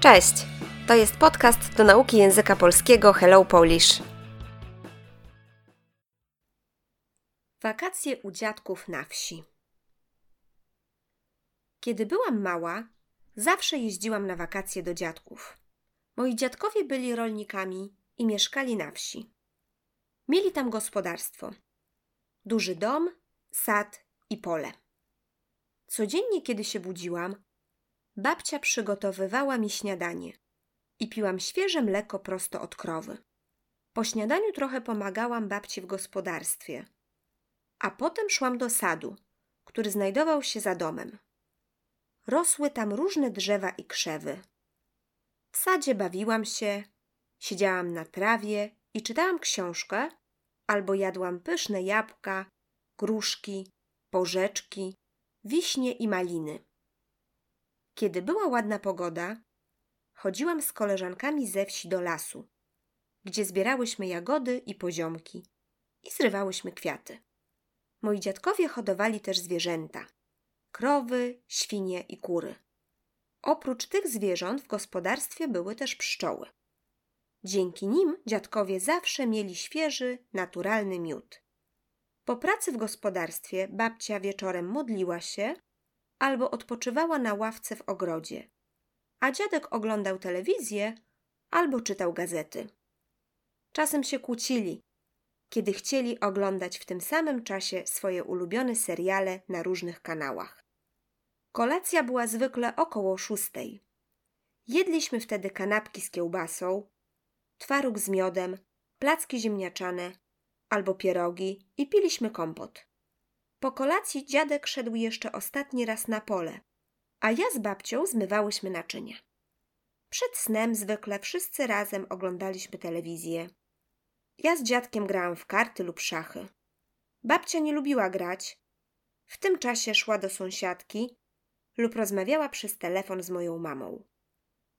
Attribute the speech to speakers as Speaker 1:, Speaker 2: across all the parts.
Speaker 1: Cześć! To jest podcast do nauki języka polskiego Hello Polish. Wakacje u dziadków na wsi. Kiedy byłam mała, zawsze jeździłam na wakacje do dziadków. Moi dziadkowie byli rolnikami i mieszkali na wsi. Mieli tam gospodarstwo. Duży dom, sad i pole. Codziennie, kiedy się budziłam, babcia przygotowywała mi śniadanie i piłam świeże mleko prosto od krowy. Po śniadaniu trochę pomagałam babci w gospodarstwie, a potem szłam do sadu, który znajdował się za domem. Rosły tam różne drzewa i krzewy. W sadzie bawiłam się, siedziałam na trawie i czytałam książkę albo jadłam pyszne jabłka, gruszki, porzeczki, wiśnie i maliny. Kiedy była ładna pogoda, chodziłam z koleżankami ze wsi do lasu, gdzie zbierałyśmy jagody i poziomki i zrywałyśmy kwiaty. Moi dziadkowie hodowali też zwierzęta krowy, świnie i kury. Oprócz tych zwierząt w gospodarstwie były też pszczoły. Dzięki nim dziadkowie zawsze mieli świeży, naturalny miód. Po pracy w gospodarstwie babcia wieczorem modliła się albo odpoczywała na ławce w ogrodzie, a dziadek oglądał telewizję albo czytał gazety. Czasem się kłócili, kiedy chcieli oglądać w tym samym czasie swoje ulubione seriale na różnych kanałach. Kolacja była zwykle około szóstej. Jedliśmy wtedy kanapki z kiełbasą, twaróg z miodem, placki ziemniaczane albo pierogi i piliśmy kompot. Po kolacji dziadek szedł jeszcze ostatni raz na pole, a ja z babcią zmywałyśmy naczynia. Przed snem zwykle wszyscy razem oglądaliśmy telewizję. Ja z dziadkiem grałam w karty lub szachy. Babcia nie lubiła grać. W tym czasie szła do sąsiadki lub rozmawiała przez telefon z moją mamą.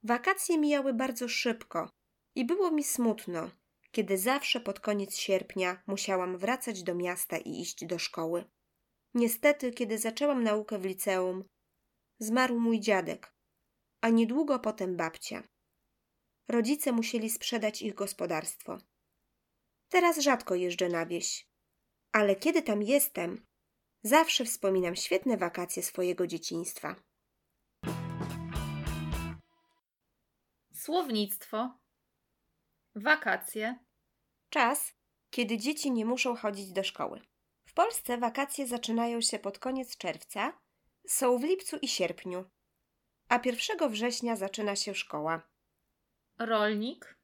Speaker 1: Wakacje mijały bardzo szybko i było mi smutno, kiedy zawsze pod koniec sierpnia musiałam wracać do miasta i iść do szkoły. Niestety, kiedy zaczęłam naukę w liceum, zmarł mój dziadek, a niedługo potem babcia. Rodzice musieli sprzedać ich gospodarstwo. Teraz rzadko jeżdżę na wieś, ale kiedy tam jestem, zawsze wspominam świetne wakacje swojego dzieciństwa.
Speaker 2: Słownictwo. Wakacje.
Speaker 1: Czas, kiedy dzieci nie muszą chodzić do szkoły. W Polsce wakacje zaczynają się pod koniec czerwca, są w lipcu i sierpniu, a 1 września zaczyna się szkoła.
Speaker 2: Rolnik.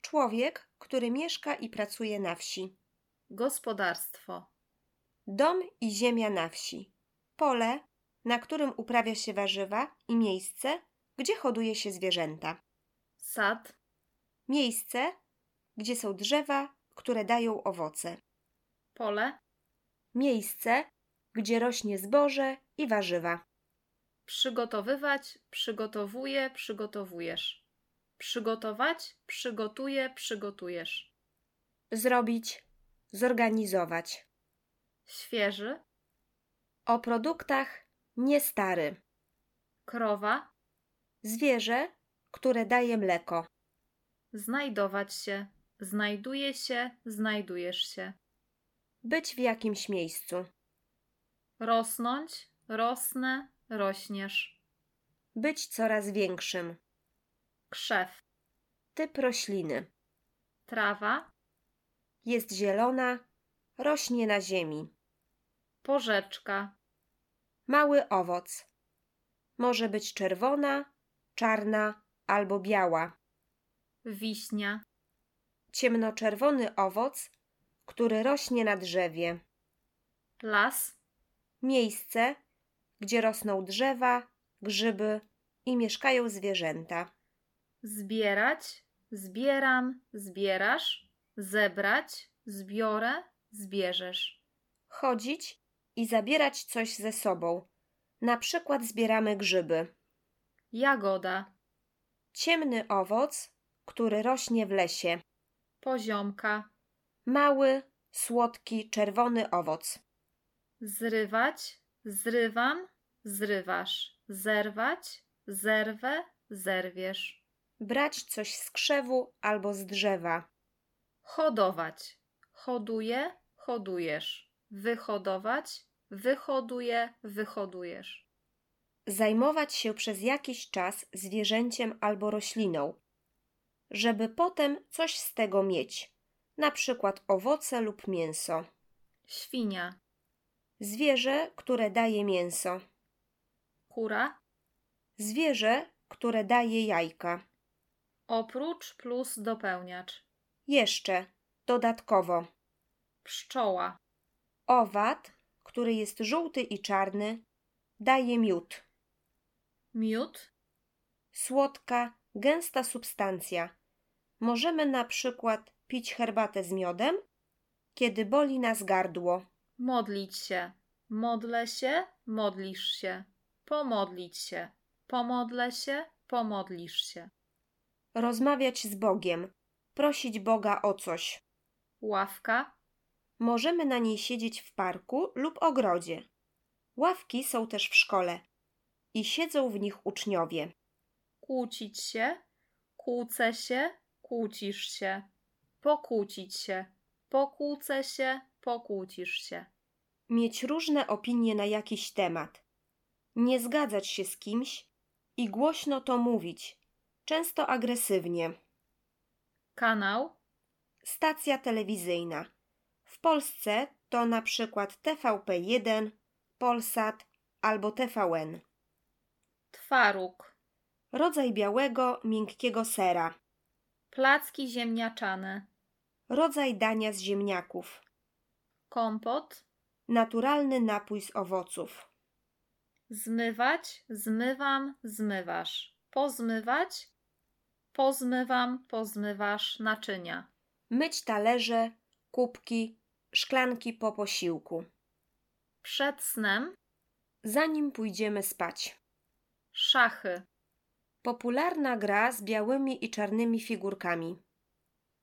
Speaker 1: Człowiek, który mieszka i pracuje na wsi.
Speaker 2: Gospodarstwo.
Speaker 1: Dom i ziemia na wsi. Pole, na którym uprawia się warzywa i miejsce, gdzie hoduje się zwierzęta.
Speaker 2: Sad.
Speaker 1: Miejsce, gdzie są drzewa, które dają owoce.
Speaker 2: Pole.
Speaker 1: Miejsce, gdzie rośnie zboże i warzywa.
Speaker 2: Przygotowywać. Przygotowuje. Przygotowujesz. Przygotować. Przygotuje. Przygotujesz.
Speaker 1: Zrobić, zorganizować.
Speaker 2: Świeży.
Speaker 1: O produktach niestary.
Speaker 2: Krowa.
Speaker 1: Zwierzę, które daje mleko.
Speaker 2: Znajdować się. Znajduje się. Znajdujesz się.
Speaker 1: Być w jakimś miejscu.
Speaker 2: Rosnąć. Rosnę. Rośniesz.
Speaker 1: Być coraz większym.
Speaker 2: Krzew.
Speaker 1: Typ rośliny.
Speaker 2: Trawa.
Speaker 1: Jest zielona, rośnie na ziemi.
Speaker 2: Porzeczka.
Speaker 1: Mały owoc. Może być czerwona, czarna albo biała.
Speaker 2: Wiśnia.
Speaker 1: Ciemnoczerwony owoc, który rośnie na drzewie.
Speaker 2: Las.
Speaker 1: Miejsce, gdzie rosną drzewa, grzyby i mieszkają zwierzęta.
Speaker 2: Zbierać, zbieram, zbierasz, zebrać, zbiorę, zbierzesz.
Speaker 1: Chodzić i zabierać coś ze sobą. Na przykład zbieramy grzyby.
Speaker 2: Jagoda,
Speaker 1: Ciemny owoc, który rośnie w lesie.
Speaker 2: poziomka,
Speaker 1: Mały, słodki, czerwony owoc.
Speaker 2: zrywać, zrywam, zrywasz, zerwać, zerwę, zerwiesz.
Speaker 1: brać coś z krzewu albo z drzewa,
Speaker 2: Hodować. Hoduje, hodujesz. Wyhodować, wyhoduje, wyhodujesz.
Speaker 1: zajmować się przez jakiś czas zwierzęciem albo rośliną, żeby potem coś z tego mieć, na przykład owoce lub mięso.
Speaker 2: Świnia,
Speaker 1: Zwierzę, które daje mięso,
Speaker 2: kura,
Speaker 1: zwierzę, które daje jajka.
Speaker 2: oprócz plus dopełniacz.
Speaker 1: Jeszcze, dodatkowo,
Speaker 2: Pszczoła,
Speaker 1: owad, który jest żółty i czarny, daje miód.
Speaker 2: miód,
Speaker 1: słodka, gęsta substancja. Możemy na przykład pić herbatę z miodem, kiedy boli nas gardło,
Speaker 2: modlić się. Modlę się, modlisz się. Pomodlić się. Pomodlę się, pomodlisz się.
Speaker 1: rozmawiać z Bogiem, prosić Boga o coś.
Speaker 2: Ławka,
Speaker 1: Możemy na niej siedzieć w parku lub ogrodzie. Ławki są też w szkole i siedzą w nich uczniowie.
Speaker 2: kłócić się, kłócę się, kłócisz się. Pokłócić się. Pokłócę się, pokłócisz się.
Speaker 1: Mieć różne opinie na jakiś temat, nie zgadzać się z kimś i głośno to mówić, często agresywnie.
Speaker 2: Kanał,
Speaker 1: Stacja telewizyjna. W Polsce to na przykład TVP1, Polsat albo TVN.
Speaker 2: twaróg,
Speaker 1: Rodzaj białego, miękkiego sera.
Speaker 2: placki ziemniaczane,
Speaker 1: Rodzaj dania z ziemniaków.
Speaker 2: kompot,
Speaker 1: Naturalny napój z owoców.
Speaker 2: zmywać, zmywam, zmywasz, pozmywać, pozmywam, pozmywasz naczynia,
Speaker 1: Myć talerze, kubki, szklanki po posiłku.
Speaker 2: przed snem,
Speaker 1: Zanim pójdziemy spać.
Speaker 2: szachy,
Speaker 1: Popularna gra z białymi i czarnymi figurkami.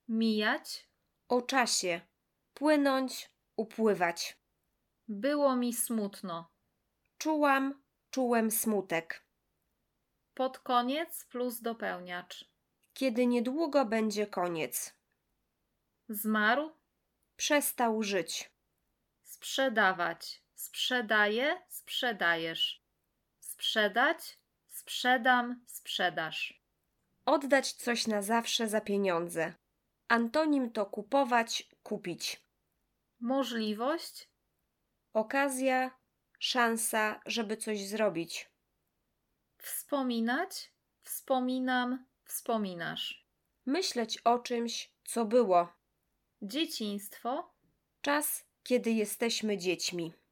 Speaker 2: mijać,
Speaker 1: O czasie. Płynąć, upływać.
Speaker 2: było mi smutno,
Speaker 1: Czułam, czułem smutek.
Speaker 2: pod koniec plus dopełniacz,
Speaker 1: Kiedy niedługo będzie koniec.
Speaker 2: zmarł,
Speaker 1: Przestał żyć.
Speaker 2: sprzedawać, sprzedaję, sprzedajesz, sprzedać, sprzedam, sprzedasz.
Speaker 1: Oddać coś na zawsze za pieniądze. Antonim to kupować, kupić.
Speaker 2: Możliwość,
Speaker 1: Okazja, szansa, żeby coś zrobić.
Speaker 2: Wspominać, wspominam, wspominasz.
Speaker 1: Myśleć o czymś, co było.
Speaker 2: Dzieciństwo,
Speaker 1: Czas, kiedy jesteśmy dziećmi.